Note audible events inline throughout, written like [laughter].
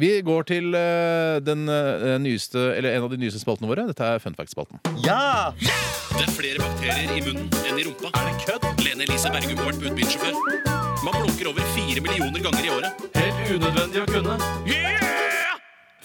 Vi går til eh, den eh, nyeste, eller en av de nyeste spaltene våre. Dette er Fun fact-spalten. Ja! Det er flere bakterier i munnen enn i rumpa. Er det kødd? Lene Elise Bergum har vært budbilsjåfør. Man blunker over fire millioner ganger i året. Helt unødvendig å kunne.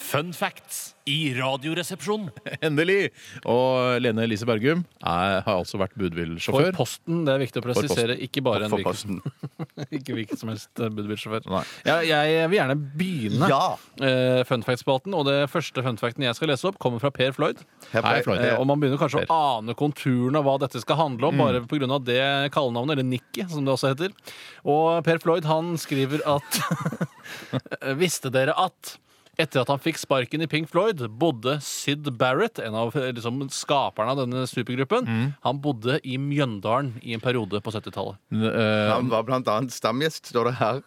Fun facts i Radioresepsjonen. [laughs] Endelig! Og Lene Elise Bergum er, har altså vært For budbilsjåfør. Posten, det er viktig å Posten. presisere. Ikke bare en For hvilken Posten. [laughs] ikke hvilken som helst eh, budbilsjåfør. Nei. Ja, jeg vil gjerne begynne Ja. eh, fun fact-spalten. Og det første fun facten jeg skal lese opp, kommer fra Per Floyd. Hei, Floyd. Eh, og man begynner kanskje å ane konturene av hva dette skal handle Mm. om, bare pga. det kallenavnet, eller Nikki, som det også heter. Og Per Floyd han skriver at [laughs] Visste dere at etter at han fikk sparken i Pink Floyd, bodde Syd Barrett, en av eh, liksom, skaperne av denne supergruppen, Mm. han bodde i Mjøndalen i en periode på 70-tallet. Eh, Han var blant annet stamgjest, står det her,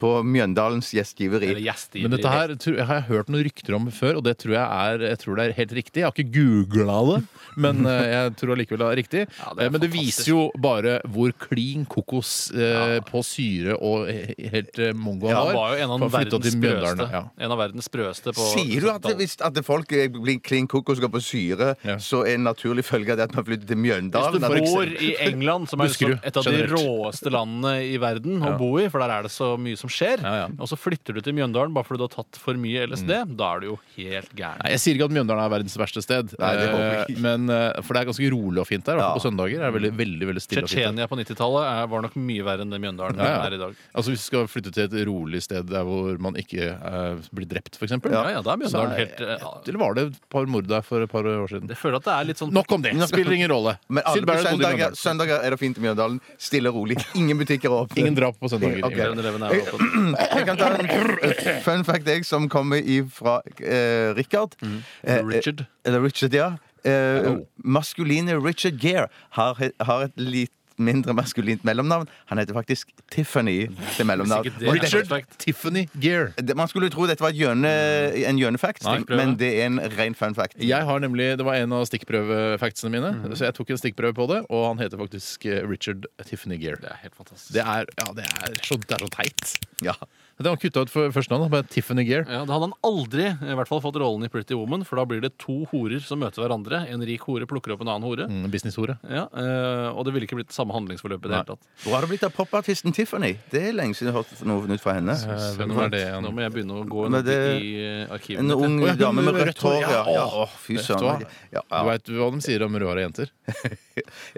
på Mjøndalens gjestgiveri. Eller gjestgiveri. Men dette her tror, har jeg hørt noen rykter om før, og det tror jeg er, jeg tror det er helt riktig. Jeg har ikke googla det, [laughs] men eh, jeg tror allikevel det er riktig. Ja, det er Eh, men det fantastisk. viser jo bare hvor klin kokos eh, på syre og he- helt eh, mongo han Han var. var jo en av for han flytta verdens til Mjøndalen, sprøeste. ja. En av verdens sprøeste på Sier du at 70-tallet. hvis at folk eh, blir klin kokos og går på syre, Ja. så er en naturlig følge av det at man flytter til Hvis Mjøndalen? du at det- bor i England, som er liksom Buskerud, et av de generelt. råeste landene i verden å bo i, for der er det så mye som skjer, Ja, ja. og så flytter du til Mjøndalen bare fordi du har tatt for mye LSD, da er du jo helt gæren. Nei, Jeg sier ikke at Mjøndalen er verdens verste sted, Nei, det håper jeg ikke. eh, men, eh, for det er ganske rolig og fint der. i hvert fall Ja. På søndager er det veldig, veldig, veldig stille og fint. der. Tsjetsjenia på 90-tallet er- var nok mye verre enn det Mjøndalen Ja, ja. er i dag. Altså Hvis du skal flytte til et rolig sted der hvor man ikke eh, blir drept, f.eks. Ja, ja, da er Mjøndalen helt eh, Eller var det et par mord der for et par år siden? Jeg føler at det er litt sånn Nok om det! [laughs] Spiller ingen rolle. Men alle Syd på Barrett bodde i søndager, Mjøndalen. søndager er det fint i Mjøndalen. Stille og rolig. Ingen butikker er åpne. Ingen drap på søndager. Ok. Ingen- 7-Eleven er åpen. Jeg kan ta en fun fact jeg som kommer fra eh, Richard. Eh, Richard. eh, Eller Richard, ja. Eh, maskuline Richard Gere har, he- har et litt mindre maskulint mellomnavn. Han heter faktisk Tiffany til mellomnavn. Hvis ikke det Og er dette- fun fact. Tiffany Gear. det- man skulle tro dette var et hjørne, en hjørnefact, Nei, prøv men det. det er en ren fun fact. Jeg har nemlig, Det var en av stikkprøvefactsene mine, så jeg tok en stikkprøve på det. Og han heter faktisk eh, Richard Tiffany Gear. Det er helt fantastisk. Det er, ja, det er, så, det er så teit. Ja. Det var kutta ut for første navn. da, Bare Tiffany Gear. Ja, Da hadde han aldri i hvert fall fått rollen i Pretty Woman, for da blir det to horer som møter hverandre. En rik hore plukker opp en annen hore. Mm, Businesshore. Ja, eh, Og det ville ikke blitt samme handlingsforløp i det Nei. hele tatt. Hvor har det blitt av popartisten Tiffany? Det er lenge siden jeg har hørt noe nytt fra henne. Eh, Hvem var det? Nå igjen? må jeg begynne å gå Men ned det- i eh, arkivet. En mitt, Å, ung ja, hun dame med med rødt hår. Ja, ja. Å, Fy Vet du søren. hva? Ja, Du ja, veit hva de sier om rødhåra jenter?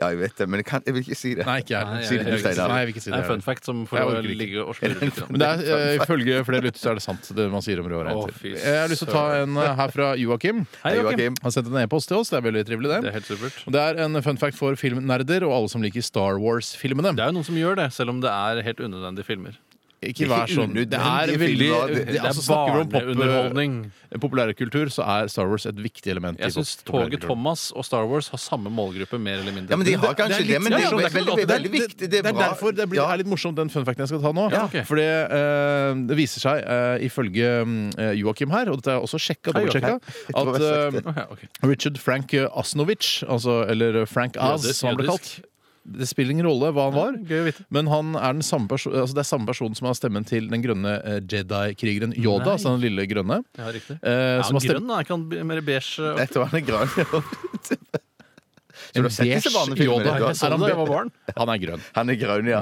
ja, jeg vet det, men jeg, kan, jeg vil ikke si det. Nei, ikke jeg. Nei, jeg- Sier du, jeg- Steinar? jeg- Nei, jeg vil ikke si Det er det. en fun fact som får Jeg å orker ikke. ligge og slurve litt. grann. Men det er, eh, ifølge flere lyttere så er det sant, det man sier om rødhåra Å, jenter. fy Jeg har lyst til å ta en eh, her fra Joakim. Hei, [laughs] Hei, Joakim. Joakim. Han har sendt en e-post til oss. Det er veldig trivelig, Det er det. helt supert. Og Det er en fun fact for filmnerder og alle som liker Star Wars-filmene. Det er jo noen som gjør det, selv om det er helt unødvendige filmer. Ikke vær Ikke sånn. Det er unødvendige veldig filmer. det, Det er altså, Snakker vi om pop, barneunderholdning. eh, populærkultur, så er Star Wars et viktig element. i Jeg syns pop- populærkultur. Toget Thomas og Star Wars har samme målgruppe, mer eller mindre. Ja, men de har Det kanskje er det, litt- men det Ja, ja, er veldig, det er veldig, ikke noe- veldig, viktig. Det er bra. derfor det blir, Ja. er litt morsomt, den fun facten jeg skal ta nå. Ja, ok. For det, det viser seg, eh, ifølge eh, Joakim her, og dette er også sjekka, Hei, Joakim. dobbeltsjekka, Jeg tror at jeg har eh, sagt Ok, ok. Richard Frank eh, Asnovic, altså, eller Frank Az, Jødisk- som han ble kalt jødisk. det spiller ingen rolle hva han var, gøy å vite. men han er den samme perso altså det er samme person som har stemmen til den grønne eh, Jedi-krigeren Yoda, Nei. altså den lille grønne. Ja, riktig. eh, Er som har Eh, stemmen han grønn? da? Er ikke han b- mer beige? og- Dette var en grønn En du har sett disse beige barnefilmene, Yoda. du har- Jeg så Er han det da jeg be- var barn. Han er grønn. Han er grønn, ja.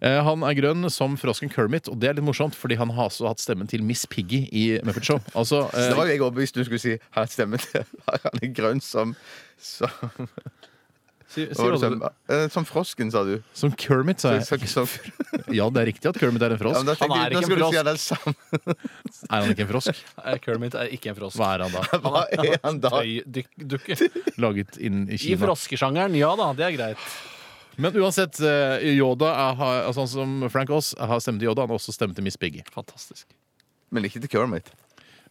Eh, Han er grønn som frosken Kermit, og det er litt morsomt, fordi han har også hatt stemmen til Miss Piggy i Muppet Show. [laughs] Altså, eh, Så Da var jo jeg overbevist du skulle si han stemmer [laughs] til Han er grønn som som, Si, si hva var det hva som, du- eh, som frosken, sa du. som Kermit, sa jeg. Så, så, Ja, det er riktig at Kermit er en ja, men frosk. da tenkte er jeg, nå ikke en skulle du si frosk. han er sammen. Er han ikke en frosk? Eh, Kermit er ikke en frosk. Hva er han da? Hva [laughs] er han da? [laughs] Tøydukke. Laget inn i I Kina. froskesjangeren, ja da, det er greit. Men uansett, eh, Yoda er, har- altså, han som Frank Aas har stemt til Yoda, han har også stemt til Miss Piggy. Fantastisk. Men ikke til Kermit. Eh,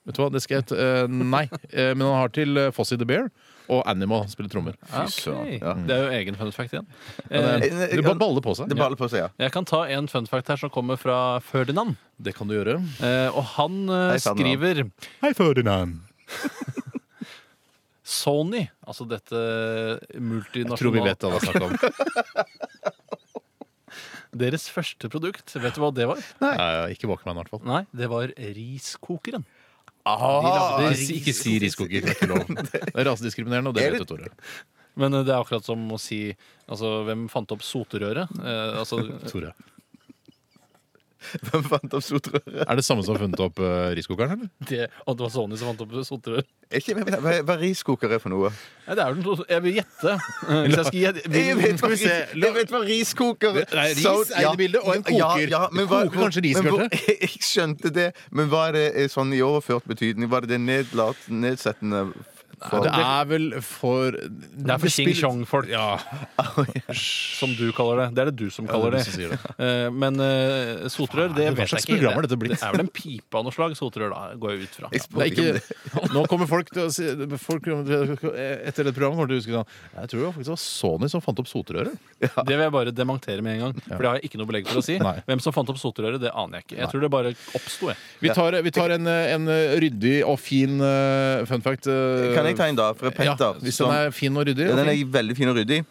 Vet du hva, det skal jeg t eh, Nei. Eh, men han har til eh, Fossy the Bear og Animal spiller trommer. Ok. søren, ja. Det er jo egen fun fact igjen. Det Eh, er- det bare baller på seg. Det baller på seg, ja. Jeg kan ta en fun fact her som kommer fra Ferdinand. Det kan du gjøre. Eh, Og han eh, Hei, Ferdinand. skriver Hei, Ferdinand. Sony, altså dette Jeg tror vi vet hva multinasjonale det er snakk om. Deres første produkt, vet du hva det var? Nei, ikke Walkman, i hvert fall. Nei, det var riskokeren. Ah, Det- Ikke si riskoker. Det er ikke lov. [laughs] Det er rasediskriminerende, og det vet du, Tore. Men eh, det er akkurat som å si altså, Hvem fant opp soterøret? Eh, altså, [laughs] Tore. Hvem fant opp sotrøret? Er det samme som har funnet opp uh, riskokeren, eller? det, at det var Sony som fant opp soterøret? Er ikke- men Hva hva riskoker er for noe? Nei, det er vel noe Jeg vil [laughs] gjette. Eh, Hvis jeg skal gjette Jeg vet hva, vi se. ris- jeg vet hva riskoker Nei, ris Så- er i det bildet, og en koker. Koker kanskje ris, men hvor- [laughs] Jeg skjønte det, men hva er det eh, sånn i overført betydning? Var det det nedlat, nedsettende for- Det er vel for Det er for Xing Chong-folk, [laughs] Ja, som du kaller det. Det er det du som kaller det er du det. som sier det. [laughs] Eh, Men eh, soterør, det Faen, hva vet jeg slags ikke. program er dette blitt? det er vel en pipe av noe slag soterør, da, går jeg ut [laughs] fra. Jeg Det spurte er ikke om det. ikke, nå kommer folk til å si folk, Etter dette programmet kommer de til å huske sånn Jeg tror det var faktisk det var Sony som fant opp soterøret. Det vil jeg bare dementere med en gang. For det har jeg ikke noe belegg for å si. Nei. Hvem som fant opp soterøret, det aner jeg ikke. Jeg tror det bare oppsto, jeg. Vi tar, vi tar en, eh, en ryddig og fin eh, fun fact. eh, Kan jeg ta en, da? Fra Petter. Ja, hvis den er Mhm. fin og ryddig. Ja, den og er fin. veldig fin og ryddig.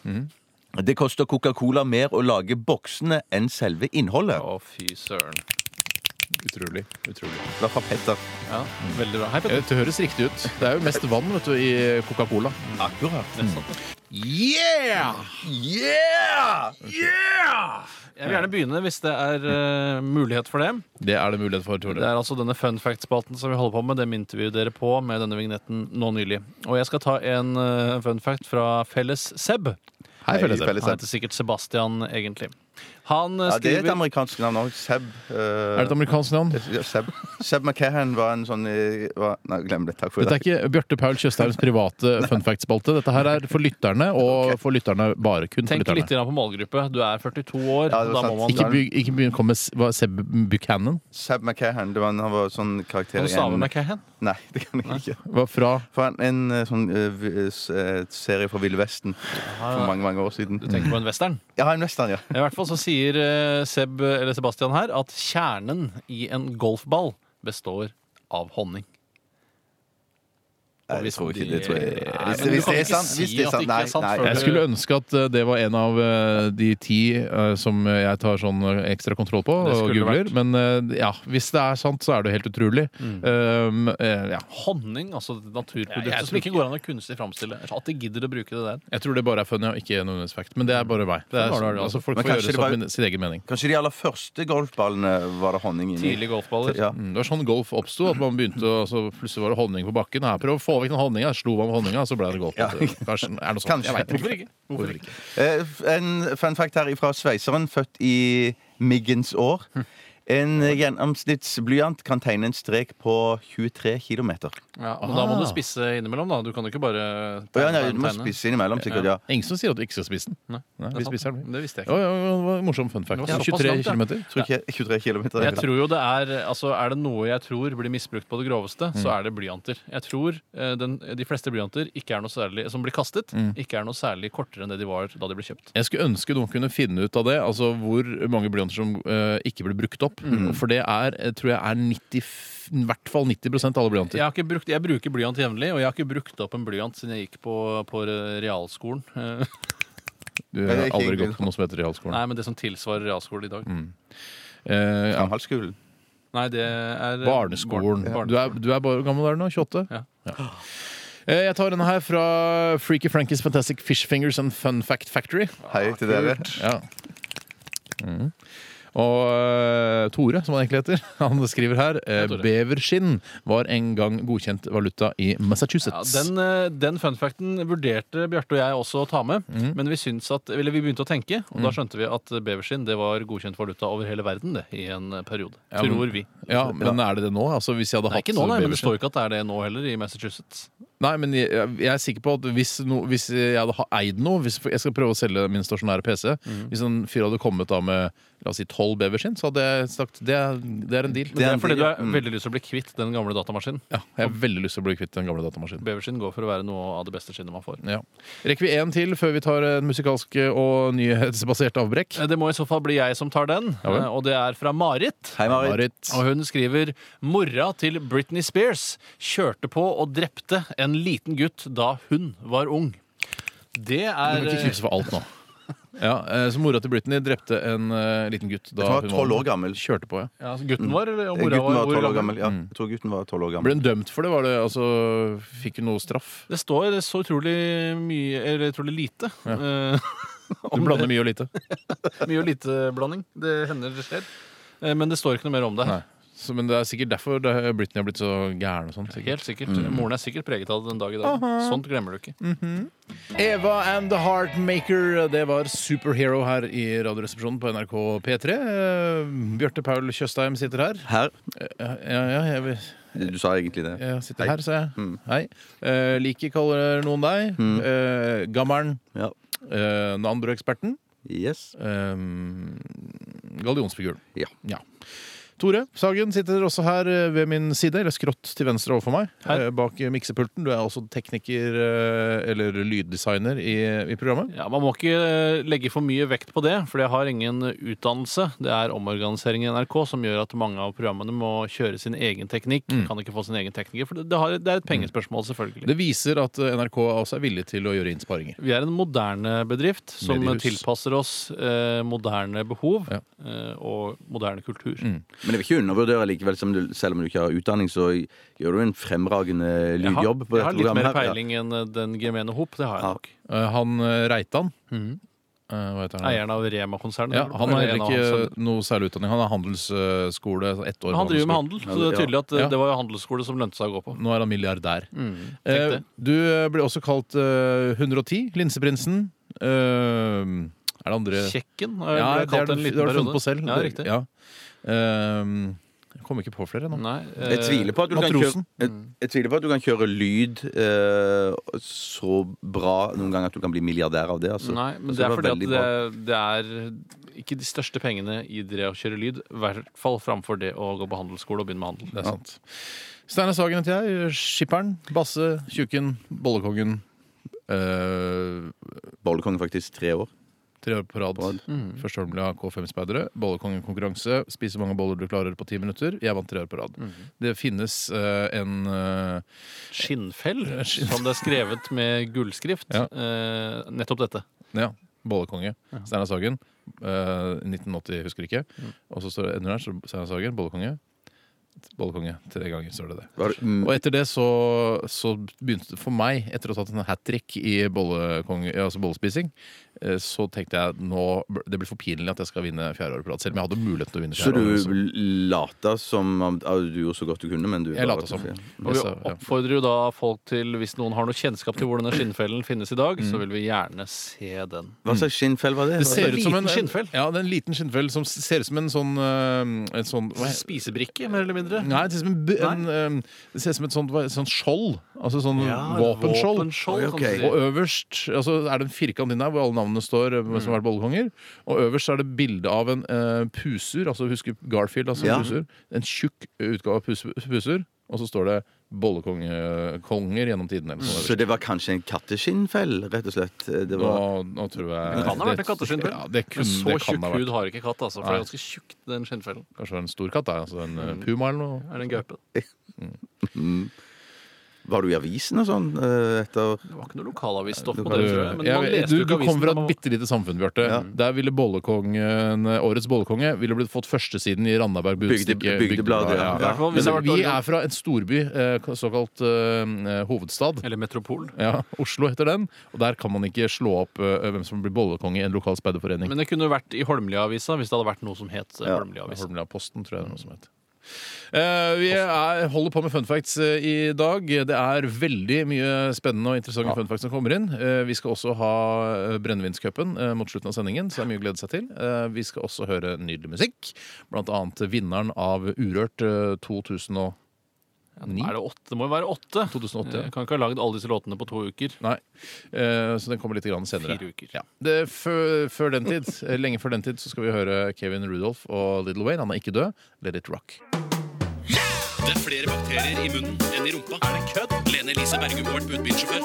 Det koster Coca-Cola mer å lage boksene enn selve innholdet. Å, fy søren. Utrolig. utrolig. Det er fra Petter. Ja, veldig bra. Hei, Ja, Petter. Det høres riktig ut. Det er jo mest vann vet du, i Coca-Cola. Akkurat. Yeah! Yeah! Jeg vil gjerne begynne hvis det er eh, mulighet for det. Det er det mulighet for, Det Tore. er altså denne fun fact-spalten som vi holder på med. Dem intervjuer dere på med denne vignetten nå nylig. Og jeg skal ta en eh, fun fact fra Felles Seb. Hei, felles. Hei, felles. Han heter sikkert Sebastian, egentlig. Han eh, Ja, det er et skriver amerikansk navn òg. Seb. eh, Er det et amerikansk navn? ja, Seb. Seb McCahan var en sånn eh, var, Nei, glem det. Takk for i Dette dag. er ikke Bjarte Paul Tjøstheims [laughs] private fun fact-spalte. Dette her er for lytterne, og for lytterne bare. Kun for Tenk litt lytterne. grann på målgruppe. Du er 42 år. Ja, det var da sant. må man Ikke, by, ikke begynn å komme med s- hva, Seb Buchanan. Seb McCahan. Det var, en- han var sånn karakter Kan du stave McCahan? Nei, [laughs] det kan jeg ikke. Var fra For en, en eh, sånn eh, vi- s- eh, serie fra Ville Vesten for mange, mange år siden. Du tenker på en western? Ja, en western, ja. I hvert fall så sier eh, Seb, eller Sebastian her at kjernen i en golfball består av honning. Nei, Jeg tror ikke det. Tror jeg. Nei, Hvis, men du hvis kan det er ikke sant, si hvis det er sant, at det ikke nei. er sant nei. før Jeg du- skulle ønske at eh, det var en av eh, de ti eh, som jeg tar sånn eh, ekstra kontroll på Det og skulle googler. vært. Mm. Men eh, ja, hvis det er sant, så er det jo helt utrolig. Um, eh, ja. Honning, altså naturproduktet Ja, jeg som ikke går an å kunstig framstille. At de gidder å bruke det der. Jeg tror det bare er funny og ikke nødvendigvis fact. Men det er bare meg. Det er, Sånn var det, altså, folk Men får kanskje gjøre det som bare- min- sin egen mening. Kanskje de aller første golfballene var det honning inni? Tidlig golfballer. Ja. Mm, Det var sånn golf oppsto. At man begynte å, så plutselig var det honning på bakken. Her, prøv å få vekk den honninga. Slo man med honninga, så ble det golf. Kanskje, er det noe sånt. Kanskje. Jeg vet ikke. Hvorfor ikke? Hvorfor ikke? Eh, f- En fun fact her fra sveiseren, født i miggens år. Hm. En gjennomsnittsblyant kan tegne en strek på 23 km. Ja, men da må du spisse innimellom, da. Du kan jo ikke bare Ja, nei, du må spisse innimellom, sikkert. ja Ingen som sier at du ikke skal spise den. Nei, Nei, det er vi sant. spiser den. Det visste jeg Ja, ikke. ja, ja, det var en morsom fun fact. Det var såpass 23 langt, ja. km. Tror ikke 23 km. Jeg tror jo det Er altså er det noe jeg tror blir misbrukt på det groveste, så er det blyanter. Jeg tror eh, den, de fleste blyanter ikke er noe særlig, som blir kastet, ikke er noe særlig kortere enn det de var da de ble kjøpt. Jeg skulle ønske noen kunne finne ut av det, altså hvor mange blyanter som eh, ikke blir brukt opp. Mm. For det er, eh, tror jeg er 90, f- i hvert fall 90 av alle blyanter. Jeg, har ikke brukt, jeg bruker blyant jevnlig, og jeg har ikke brukt opp en blyant siden jeg gikk på, på realskolen. Eh, Du det har er ikke aldri egentlig gått på noe som heter realskolen. [laughs] Nei, men det som tilsvarer realskolen i dag. Eh, ja. Samhalsskolen. Nei, det er eh, Barneskolen. Barn- Du, er, du er bare hvor gammel er du nå? 28? Ja. Eh, Jeg tar denne her fra Freaky Frankies Fantastic Fish Fingers and Fun Fact Factory. Hei til dere. Ja. Mhm. Og eh, Tore, som han egentlig heter, [laughs] han skriver her eh, Tore. Beverskinn var en gang godkjent valuta i Ja, Massachusetts. den, eh, den funfacten vurderte Bjarte og jeg også å ta med, Mhm. men vi, syns at, eller vi begynte å tenke, og da skjønte vi at beverskinn det var godkjent valuta over hele verden det, i en eh, periode. Ja, men- tror vi. Ja, Men er det det nå? Altså, hvis jeg hadde Nei, hatt ikke nå, nei, men det beverskinn- står ikke at det er det nå heller i Massachusetts. Nei, men jeg, jeg er sikker på at hvis, no, hvis jeg hadde ha- eid noe hvis Jeg skal prøve å selge min stasjonære PC. Hvis en fyr hadde kommet da med la oss si, tolv beverskinn, så hadde jeg sagt det, er- det er en mm. deal. Det er er en fordi du deal, har veldig lyst til å bli kvitt den gamle datamaskinen. Ja, jeg har veldig lyst til å bli kvitt den gamle datamaskinen. Beverskinn går for å være noe av det beste skinnet man får. Ja. Rekker vi én til før vi tar en musikalsk og nyhetsbasert avbrekk? Eh, Det må i så fall bli jeg som tar den, Ja vel. eh, og det er fra Marit. Hei, Marit. Marit. Og hun skriver Mora til Britney Spears kjørte på og drepte en liten gutt da hun var ung. Det Du er må ikke knipse for alt nå. Ja, eh, så mora til Britney drepte en eh, liten gutt da Jeg tror han var hun 12 år gammel. Eh, kjørte på. Ja. Ja, altså gutten vår eller mora Mm. Gutten var hvor 12 år gammel? gammel. Ja, jeg tror gutten var 12 år Ble gammel. hun dømt for det? Var det altså, fikk hun noe straff? Det står så utrolig mye Eller utrolig lite. Eh, Du blander mye og lite. mye og lite-blanding. Det hender det skjer. Eh, Men det står ikke noe mer om det. Nei. Så, men det er sikkert derfor det- Britney har blitt så gæren og sånn. sikkert. Helt sikkert. Moren er sikkert preget av det den dag i dag. Sånt glemmer du ikke. Eva and the Heartmaker, det var Superhero her i Radioresepsjonen på NRK P3. Eh, Bjarte Paul Tjøstheim sitter her. Her. Eh, Ja, ja, jeg, vil- Du sa egentlig det. jeg sitter her, sa jeg. Hei. Eh, Liki kaller noen deg. Eh, Gammeren. Ja. Eh, Nanbru-eksperten. Yes. Eh, Gallionsfiguren. Ja. Tore Sagen sitter også her eh, ved min side, eller skrått til venstre overfor meg, Hei. eh, bak eh, miksepulten. Du er også tekniker, eh, eller lyddesigner, i, i programmet. Ja, Man må ikke eh, legge for mye vekt på det, for jeg har ingen utdannelse. Det er omorganisering i NRK som gjør at mange av programmene må kjøre sin egen teknikk. Kan ikke få sin egen tekniker, for det, det, har, det er et pengespørsmål, selvfølgelig. Mm. Det viser at eh, NRK også er villig til å gjøre innsparinger. Vi er en moderne bedrift som Mediehus. tilpasser oss eh, moderne behov Ja. Mm. eh, og moderne kultur. Men jeg vil ikke undervurdere likevel, som du, selv om du ikke har utdanning, så gjør du en fremragende Jeg har, lydjobb på jeg dette har litt mer programmet. her. peiling enn eh, den gemene hop, det har jeg Ja. nok. Eh, Han eh, Reitan eh, Hva heter han? Eieren av Rema-konsernet. Ja, han har eller heller en av hans- ikke noe særlig utdanning. Han har handelsskole. altså Ett år Han driver med handel, så det er Ja. tydelig at Ja. eh, det var jo handelsskole som lønte seg å gå på. Nå er han milliardær. tenk Eh, det. du eh, ble også kalt eh, 110, Linseprinsen. Eh, er det andre Kjekken har jeg Ja, blitt det har kalt du, en det liten har du periode. funnet på selv. Ja, Det- riktig. ja. Ehm, jeg kom ikke på flere nå. Nei, Jeg eh, tviler på at du kan kjøre, Matrosen. jeg, jeg tviler på at du kan kjøre lyd eh, så bra noen ganger at du kan bli milliardær av det. Altså. Nei, men Altså, det er var fordi at veldig bra. det, det er ikke de største pengene i det å kjøre lyd. I hvert fall framfor det å gå på handelsskole og begynne med handel. Det er sant. Steinar Sagen heter jeg. Skipperen. Basse. Tjukken. Bollekongen. Eh, Bollekongen faktisk tre år. tre år på rad. Mm. Første året ble jeg K5-speidere. Bollekongen-konkurranse. Spise hvor mange boller du klarer på ti minutter. Jeg vant tre år på rad. Mm. Det finnes eh, en eh, [laughs] Skinnfell, som det er skrevet med gullskrift. Ja. Eh, nettopp dette. Ja. Bollekonge. Steinar Sagen. eh, 1980, husker ikke. Mm. Og så står det under der så Steinar Sagen. Bollekonge. Bollekonge. Tre ganger står det det. Var det, mm, Og etter det så, så begynte det for meg, etter å ha tatt en hat trick i bollekong, ja, altså bollespising, eh, så tenkte jeg nå bl- det blir for pinlig at jeg skal vinne fjerde året på rad, selv om jeg hadde mulighet til å vinne så fjerde du året. også. lata som om ja, du gjorde så godt du kunne, men du Jeg bare- lata som. Og Jeg vi sa- ja. oppfordrer jo da folk til, hvis noen har noe kjennskap til hvor denne skinnfellen finnes i dag, Mm. så vil vi gjerne se den. Hva slags skinnfell var Mm. det? Det ser en ut som liten en, skinnfell. Ja, det er en liten skinnfell som s- ser ut som en sånn, eh, mm. en sånn hva he- Spisebrikke, mer eller mindre. Nei, det ser ut som, en, bu- en, eh, det ser ut som et sånt, hva- sånt skjold. Altså sånn Ja, våpenskjold. våpenskjold, kan du Ok. si. Og øverst altså, er det en firkant inni her hvor alle navnene står. eh, som har vært bollekonger Og øverst er det bilde av en eh, pusur. Altså Husker Garfield? altså Ja. pusur En tjukk utgave av pus pusur. Og så står det bollekonger gjennom tidene. Liksom, eller noe sånt Så det var kanskje en katteskinnfell, rett og slett? Eh, Det Nå, var, nå tror jeg Det kan ha vært en katteskinn, Ja, det kunne, Men så det kan tjukk ha vært. hud har ikke katt, altså. For Nei. det er ganske tjukt, den skinnfellen. Kanskje det var en stor katt? da, Altså en eh, puma eller noe? Er det en gaupe? var du i avisen og sånn eh, etter Det var ikke noe lokalavisstoff på Du- det, tror jeg. Men man Jeg- leste du jo du ikke kommer avisen. fra da et man- bitte lite samfunn, Bjarte. Der ville bollekongen, årets bollekonge ville blitt fått førstesiden i Randaberg Bygde- Budstikke. Bygdebladet, ja. I hvert fall hvis det Men hadde vært vi Norge- er fra en storby, eh, såkalt eh, hovedstad. Eller Metropol. Ja, Oslo heter den. Og der kan man ikke slå opp eh, hvem som blir bollekonge i en lokal speiderforening. Men det kunne vært i Holmlia-avisa hvis det hadde vært noe som het eh, Ja. Holmlia-avisa. Holmlia-posten, tror jeg det er noe som heter. Eh, vi er, holder på med fun facts eh, i dag. Det er veldig mye spennende og interessante fun facts som kommer inn. Eh, vi skal også ha eh, Brennevinscupen eh, mot slutten av sendingen, så det er mye å glede seg til. Eh, vi skal også høre nydelig musikk, blant annet vinneren av Urørt eh, 2000 og Ni? Er det åtte? Det må jo være åtte. 2008, ja. Eh, Kan ikke ha lagd alle disse låtene på to uker. Nei. Eh, Så den kommer litt grann senere. Fire uker. Ja. Det, før, før den tid, eh, lenge før den tid så skal vi høre Kevin Rudolph og Little Wayne. Han er ikke død. Let it rock. Det er flere bakterier i munnen enn i rumpa. Er det kødd? Lene Elise Bergum har vært budbilsjåfør.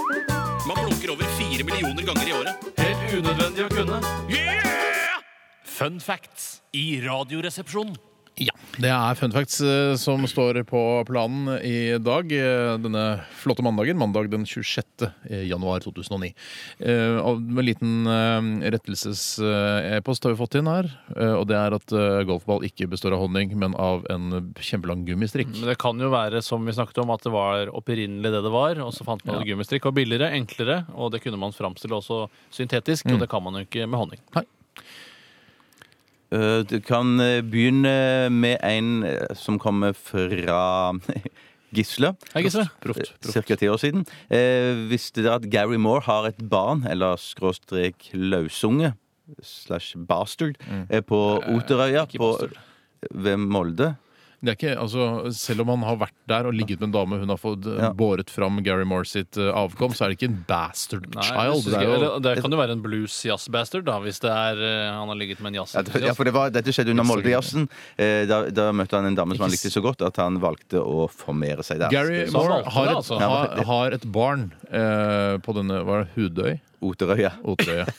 Man blunker over fire millioner ganger i året. Helt unødvendig å kunne. Yeah! Fun facts i Radioresepsjonen. Ja. Det er fun facts eh, som står på planen i dag, eh, denne flotte mandagen. Mandag den 26. januar 2009. Eh, og med en liten eh, rettelses-e-post har vi fått inn her. eh, Og det er at eh, golfball ikke består av honning, men av en kjempelang gummistrikk. Men det kan jo være som vi snakket om, at det var opprinnelig det det var. Og så fant man Ja. at gummistrikk var billigere, enklere, og det kunne man framstille også syntetisk. Mm. Og det kan man jo ikke med honning. Eh, Du kan eh, begynne med en eh, som kommer fra [laughs] Gisle. Hei, Gisle. Proft. proft. Cirka ti år siden. Eh, visste dere at Gary Moore har et barn, eller skråstrek løsunge, slash bastard, eh, på Oterøya ikke på, bastard. ved Molde? Det er ikke, altså, selv om han har vært der og ligget med en dame hun har fått eh, Ja. båret fram Gary Moore sitt eh, avkom, så er det ikke en bastard Nei, jeg child. Det synes er ikke- jo eller, det kan jo være en blues-jazz-bastard, da, hvis det er, eh, han har ligget med en jazz. Ja, det, ja, for det var, dette skjedde under Moldejazzen. Eh, da, da møtte han en dame som han likte så godt at han valgte å formere seg der. Gary Så han Moore valgte har det, et, altså. har, har et barn eh, på denne Hva er det? Hudøy? Oterøya. Oterøya.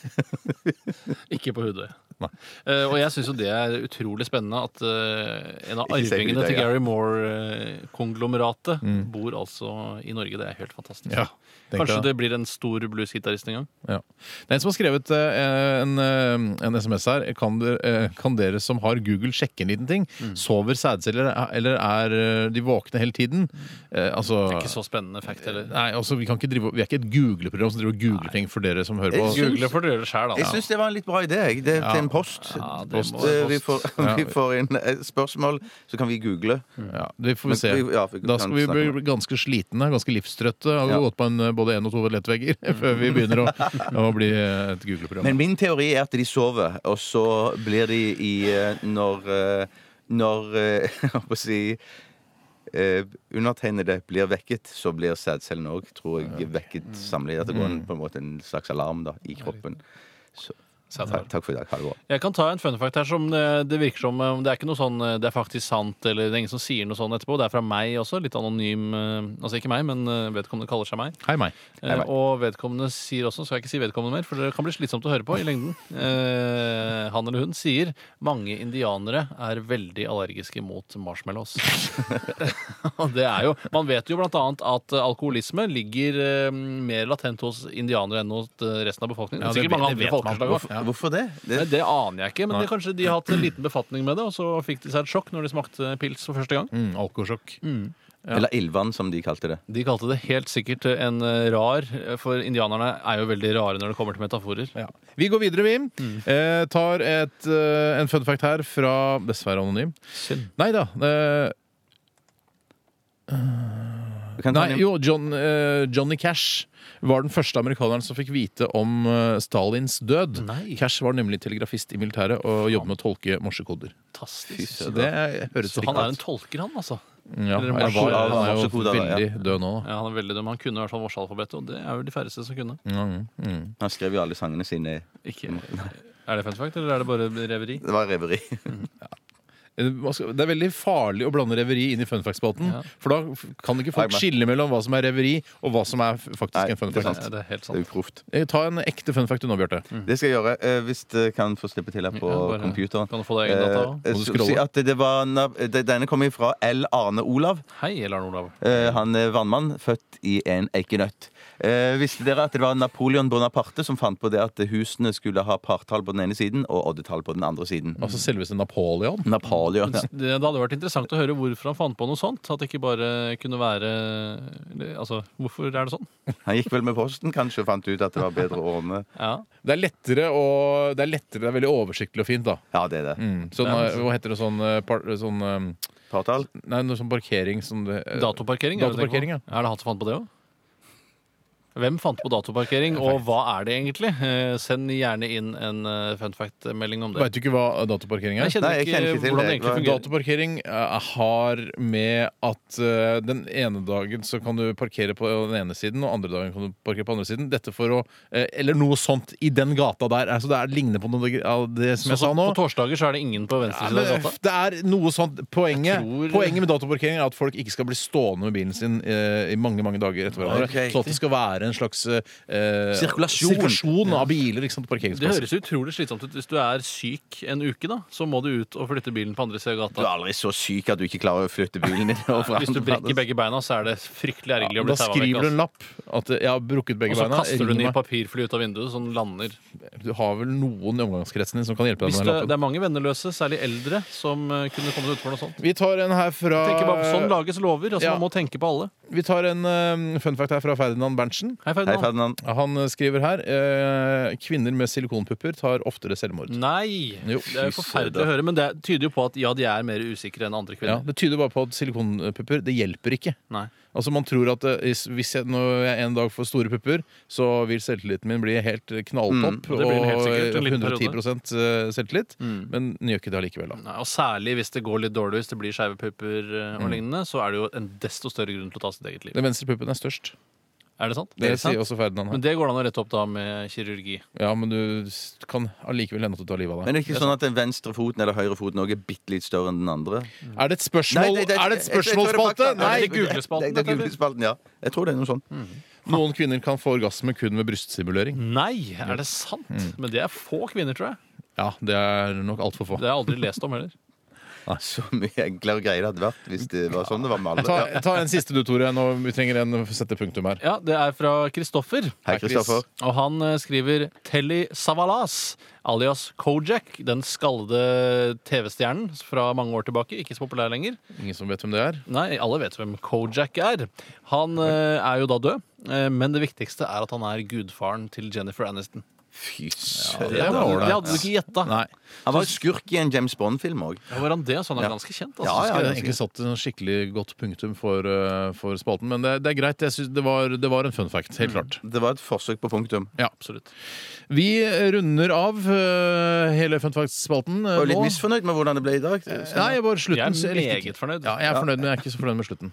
Ikke på hodet. Nei. Eh, og jeg syns jo det er utrolig spennende at eh, en av Ikke sikkert, arvingene til ja. Gary Moore-konglomeratet bor altså i Norge. Det er helt fantastisk. Ja, tenk Kanskje deg. det blir en stor bluesgitarist en gang. Ja. Det er en som har skrevet eh, en, eh, en SMS her. Kan dere, eh, kan dere som har Google, sjekke en liten ting? Mm. Sover sædceller, eller er eh, de våkne hele tiden? Mm. Eh, altså Det er ikke så spennende fact heller. Nei, altså, vi, kan ikke drive, vi er ikke et googleprogram som driver og googler ting for dere som hører på. Jeg Google får dere gjøre det sjæl, Jeg da. syns det var en litt bra idé. Jeg. Det er til en post. Ja, det post. må være Eh, Vi, får, Ja. [laughs] vi får inn et spørsmål, så kan vi google. Ja, det får vi Men se. vi- ja, vi da kan skal vi snakke om bli ganske slitne, ganske livstrøtte. Har Ja. gått på en, eh, både én og to lettvegger [laughs] før vi begynner å, å bli eh, et googleprogram. Men min teori er at de sover, og så blir de i eh, Når eh, Når eh, [laughs] Jeg holdt på å si eh, undertegnede blir vekket, så blir sædcellene òg, tror jeg, vekket Mm. samlet. At det går en, på en måte en slags alarm da, i kroppen. Så, takk, takk for i dag. Ha det bra. Jeg kan ta en fun fact her som eh, det virker som eh, Det er ikke noe sånn eh, det er faktisk sant, eller det er ingen som sier noe sånn etterpå. Det er fra meg også. Litt anonym eh, Altså ikke meg, men eh, vedkommende kaller seg meg. Hei, meg. Eh, og vedkommende sier også, skal jeg ikke si vedkommende mer, for det kan bli slitsomt å høre på i lengden. Eh, han eller hun sier mange indianere er veldig allergiske mot marshmallows. [laughs] Og det er jo Man vet jo blant annet at alkoholisme ligger eh, mer latent hos indianere enn hos eh, resten av befolkningen. Ja, Det det er vet- Sikkert det mange andre vet man. folkeslag også. Ja. Hvorfor det? Nei, det Det aner jeg ikke, men det, kanskje de har hatt en liten befatning med det, og så fikk de seg et sjokk når de smakte pils for første gang. Mm, Alkosjokk. Eller ildvann, som de kalte det. De kalte det helt sikkert en eh, rar, for indianerne er jo veldig rare når det kommer til metaforer. Ja. Vi går videre, vi. Eh, tar et, eh, en fun fact her fra Dessverre anonym. Synd. Nei da. Eh, Du kan ta nei, den- jo, John, eh, Johnny Cash var den første amerikaneren som fikk vite om eh, Stalins død. Nei. Cash var nemlig telegrafist i militæret og jobbet med å tolke morsekoder. Fantastisk. Så det høres Så riktig han er en ut. tolker, han, altså. Ja, eller en eller var- morsekoder. han er jo Morsekoder, ja. veldig død nå, da. Ja, han er veldig dum. Han kunne i hvert fall morsealfabetet, og det er jo de færreste som kunne. Mm, mm. Han skrev jo alle sangene sine. Ikke. Er det fun fact, eller er det bare reveri? Det var reveri. Man skal- Det er veldig farlig å blande reveri inn i fun fact-spalten. Ja. For da f- kan ikke folk Nei, men- skille mellom hva som er reveri, og hva som er f- faktisk Nei, en fun det er fact. sant. Ja, det er helt Det er sant. jo proft. Eh, Ta en ekte fun fact du nå, Bjarte. Det skal jeg gjøre. eh, Hvis det kan få slippe til her på Ja, bare- computeren. Kan du få deg egen data også? Eh, Må du skulle scrolle? si at det var, nav- det- denne kommer fra L. Arne Olav. Hei, Elarn Olav. Eh, Han er vannmann, født i en eikenøtt. Eh, Visste dere at det var Napoleon Bonaparte som fant på det at husene skulle ha partall på den ene siden og oddetall på den andre siden? Altså selveste Napoleon. Napoleon. Det, det hadde vært interessant å høre hvorfor han fant på noe sånt. At det ikke bare kunne være Altså, hvorfor er det sånn? Han gikk vel med posten, kanskje, og fant ut at det var bedre å ordne. Ja. Det er lettere og det er, lettere, det er veldig oversiktlig og fint, da. Ja, det er det. Mm. Sånn, Ja, eh, hva heter det sånn, eh, par, sånn eh, Partall. Nei, noe sånn parkering som det eh, Datoparkering? er det det Datoparkering, går på? Er det han som fant på det òg? Hvem fant på datoparkering, og hva er det egentlig? Eh, Send gjerne inn en eh, fun fact-melding om det. Vet du ikke hva datoparkering er? Jeg kjenner, Nei, jeg kjenner ikke ikke til hvordan det det. egentlig Hva- fungerer. Datoparkering eh, har med at eh, den ene dagen så kan du parkere på den ene siden, og andre dagen kan du parkere på andre siden. Dette for å eh, Eller noe sånt i den gata der. Altså, det er ligner på noe av det som jeg Så sa nå. Sånn på torsdager så er det ingen på venstre Ja, side av men gata. det er noe sånt Poenget, Jeg tror- poenget med datoparkering er at folk ikke skal bli stående med bilen sin eh, i mange mange dager etter hverandre. Ok. Sånn at det skal være være en slags eh, Sirkulasjon. sirkulasjon av biler ikke sant, på Det parkeringsplasser. høres utrolig slitsomt ut. Hvis du er syk en uke, da, så må du ut og flytte bilen på andre siden av Du er gata. aldri så syk at du ikke klarer å flytte bilen din. over Hvis du andre brekker plasser. begge beina, så er det fryktelig ergerlig å Da bli taua vekk. skriver du en ass. lapp at eh, 'jeg har brukket begge Og så beina'. kaster du ring den i meg. papirfly ut av vinduet, så den lander. Du har vel noen i omgangskretsen din som kan hjelpe deg Hvis med det, den lappen. det er mange venneløse, særlig eldre, som eh, kunne kommet utfor noe sånt. Vi tar en her fra Tenker bare på Sånn lages lover. altså Ah, Ja. Man må tenke på alle. Vi tar en eh, fun fact her fra Ferdinand Berntsen. Hei, Hei, Ferdinand. Ferdinand. Han eh, skriver her eh, kvinner med silikonpupper tar oftere selvmord. Mm. Nei! Jo, det er jo fy forferdelig søren. å høre, men det tyder jo på at ja, de er mer usikre enn andre Ja, kvinner. det tyder bare på at silikonpupper det hjelper ikke. Nei. Altså Man tror at eh, is- hvis jeg, når jeg en dag får store pupper, så vil selvtilliten min bli helt knalltopp. det blir den helt sikkert, en og liten 110 eh, selvtillit. Men den gjør ikke det allikevel. da. Nei, og særlig hvis det går litt dårlig, hvis det blir skeive pupper eh, og lignende, så er det jo en desto større grunn til å ta sitt eget liv. Den venstre puppen er størst. Er det sant? Det, Er det sant? sier også Ferdinand her. Men det går det an å rette opp da med kirurgi. Ja, men du s- kan allikevel hende at du tar livet av deg. Men det er ikke sånn at den venstre foten eller høyre foten også er bitte litt større enn den andre? Er det et spørsmål? Nei, det- det- er det et jeg- jeg- jeg tror det er spørsmålsspalte? fakta. Nei! det er Google-spalten, Det, det, det er dette, Google-spalten, ja. Jeg tror det er noe sånn. sånt. Noen kvinner kan få orgasme kun med Mm. bryststimulering. Nei, er det sant? Men det er få kvinner, tror jeg. Ja, det er nok altfor få. Det har jeg aldri lest om heller. [laughs] Ah, Så mye enklere greier det hadde vært hvis det var sånn det var med alle. Ta, ta en siste du, Tore. Nå vi trenger en å sette punktum her. Ja, Det er fra Kristoffer. Hei, Kristoffer. Og han eh, skriver Telly Savalas, alias Kojak, den skallede TV-stjernen fra mange år tilbake. Ikke så populær lenger. Ingen som vet hvem det er? Nei, alle vet hvem Kojak er. Han eh, er jo da død, eh, men det viktigste er at han er gudfaren til Jennifer Aniston. Fy Det, søren. er hadde- ålreit. det hadde du ikke gjetta. Nei. Han var skurk i en James Bond-film òg. Ja, Var han det? Så han er ganske kjent. Ah, Altså. Ja, ja, Jeg ja. hadde egentlig satt et skikkelig godt punktum for, eh, for spalten, men det, det er greit. Jeg synes det, var, det var en fun fact. Helt klart. Det var et forsøk på punktum. Ja. Absolutt. Vi runder av eh, hele fun fact-spalten eh, Jeg var litt nå. misfornøyd med hvordan det ble i dag. Nei, jeg bare slutten. Jeg så er likte ikke- meget fornøyd. Ja, jeg er fornøyd, men jeg er ikke så fornøyd med slutten.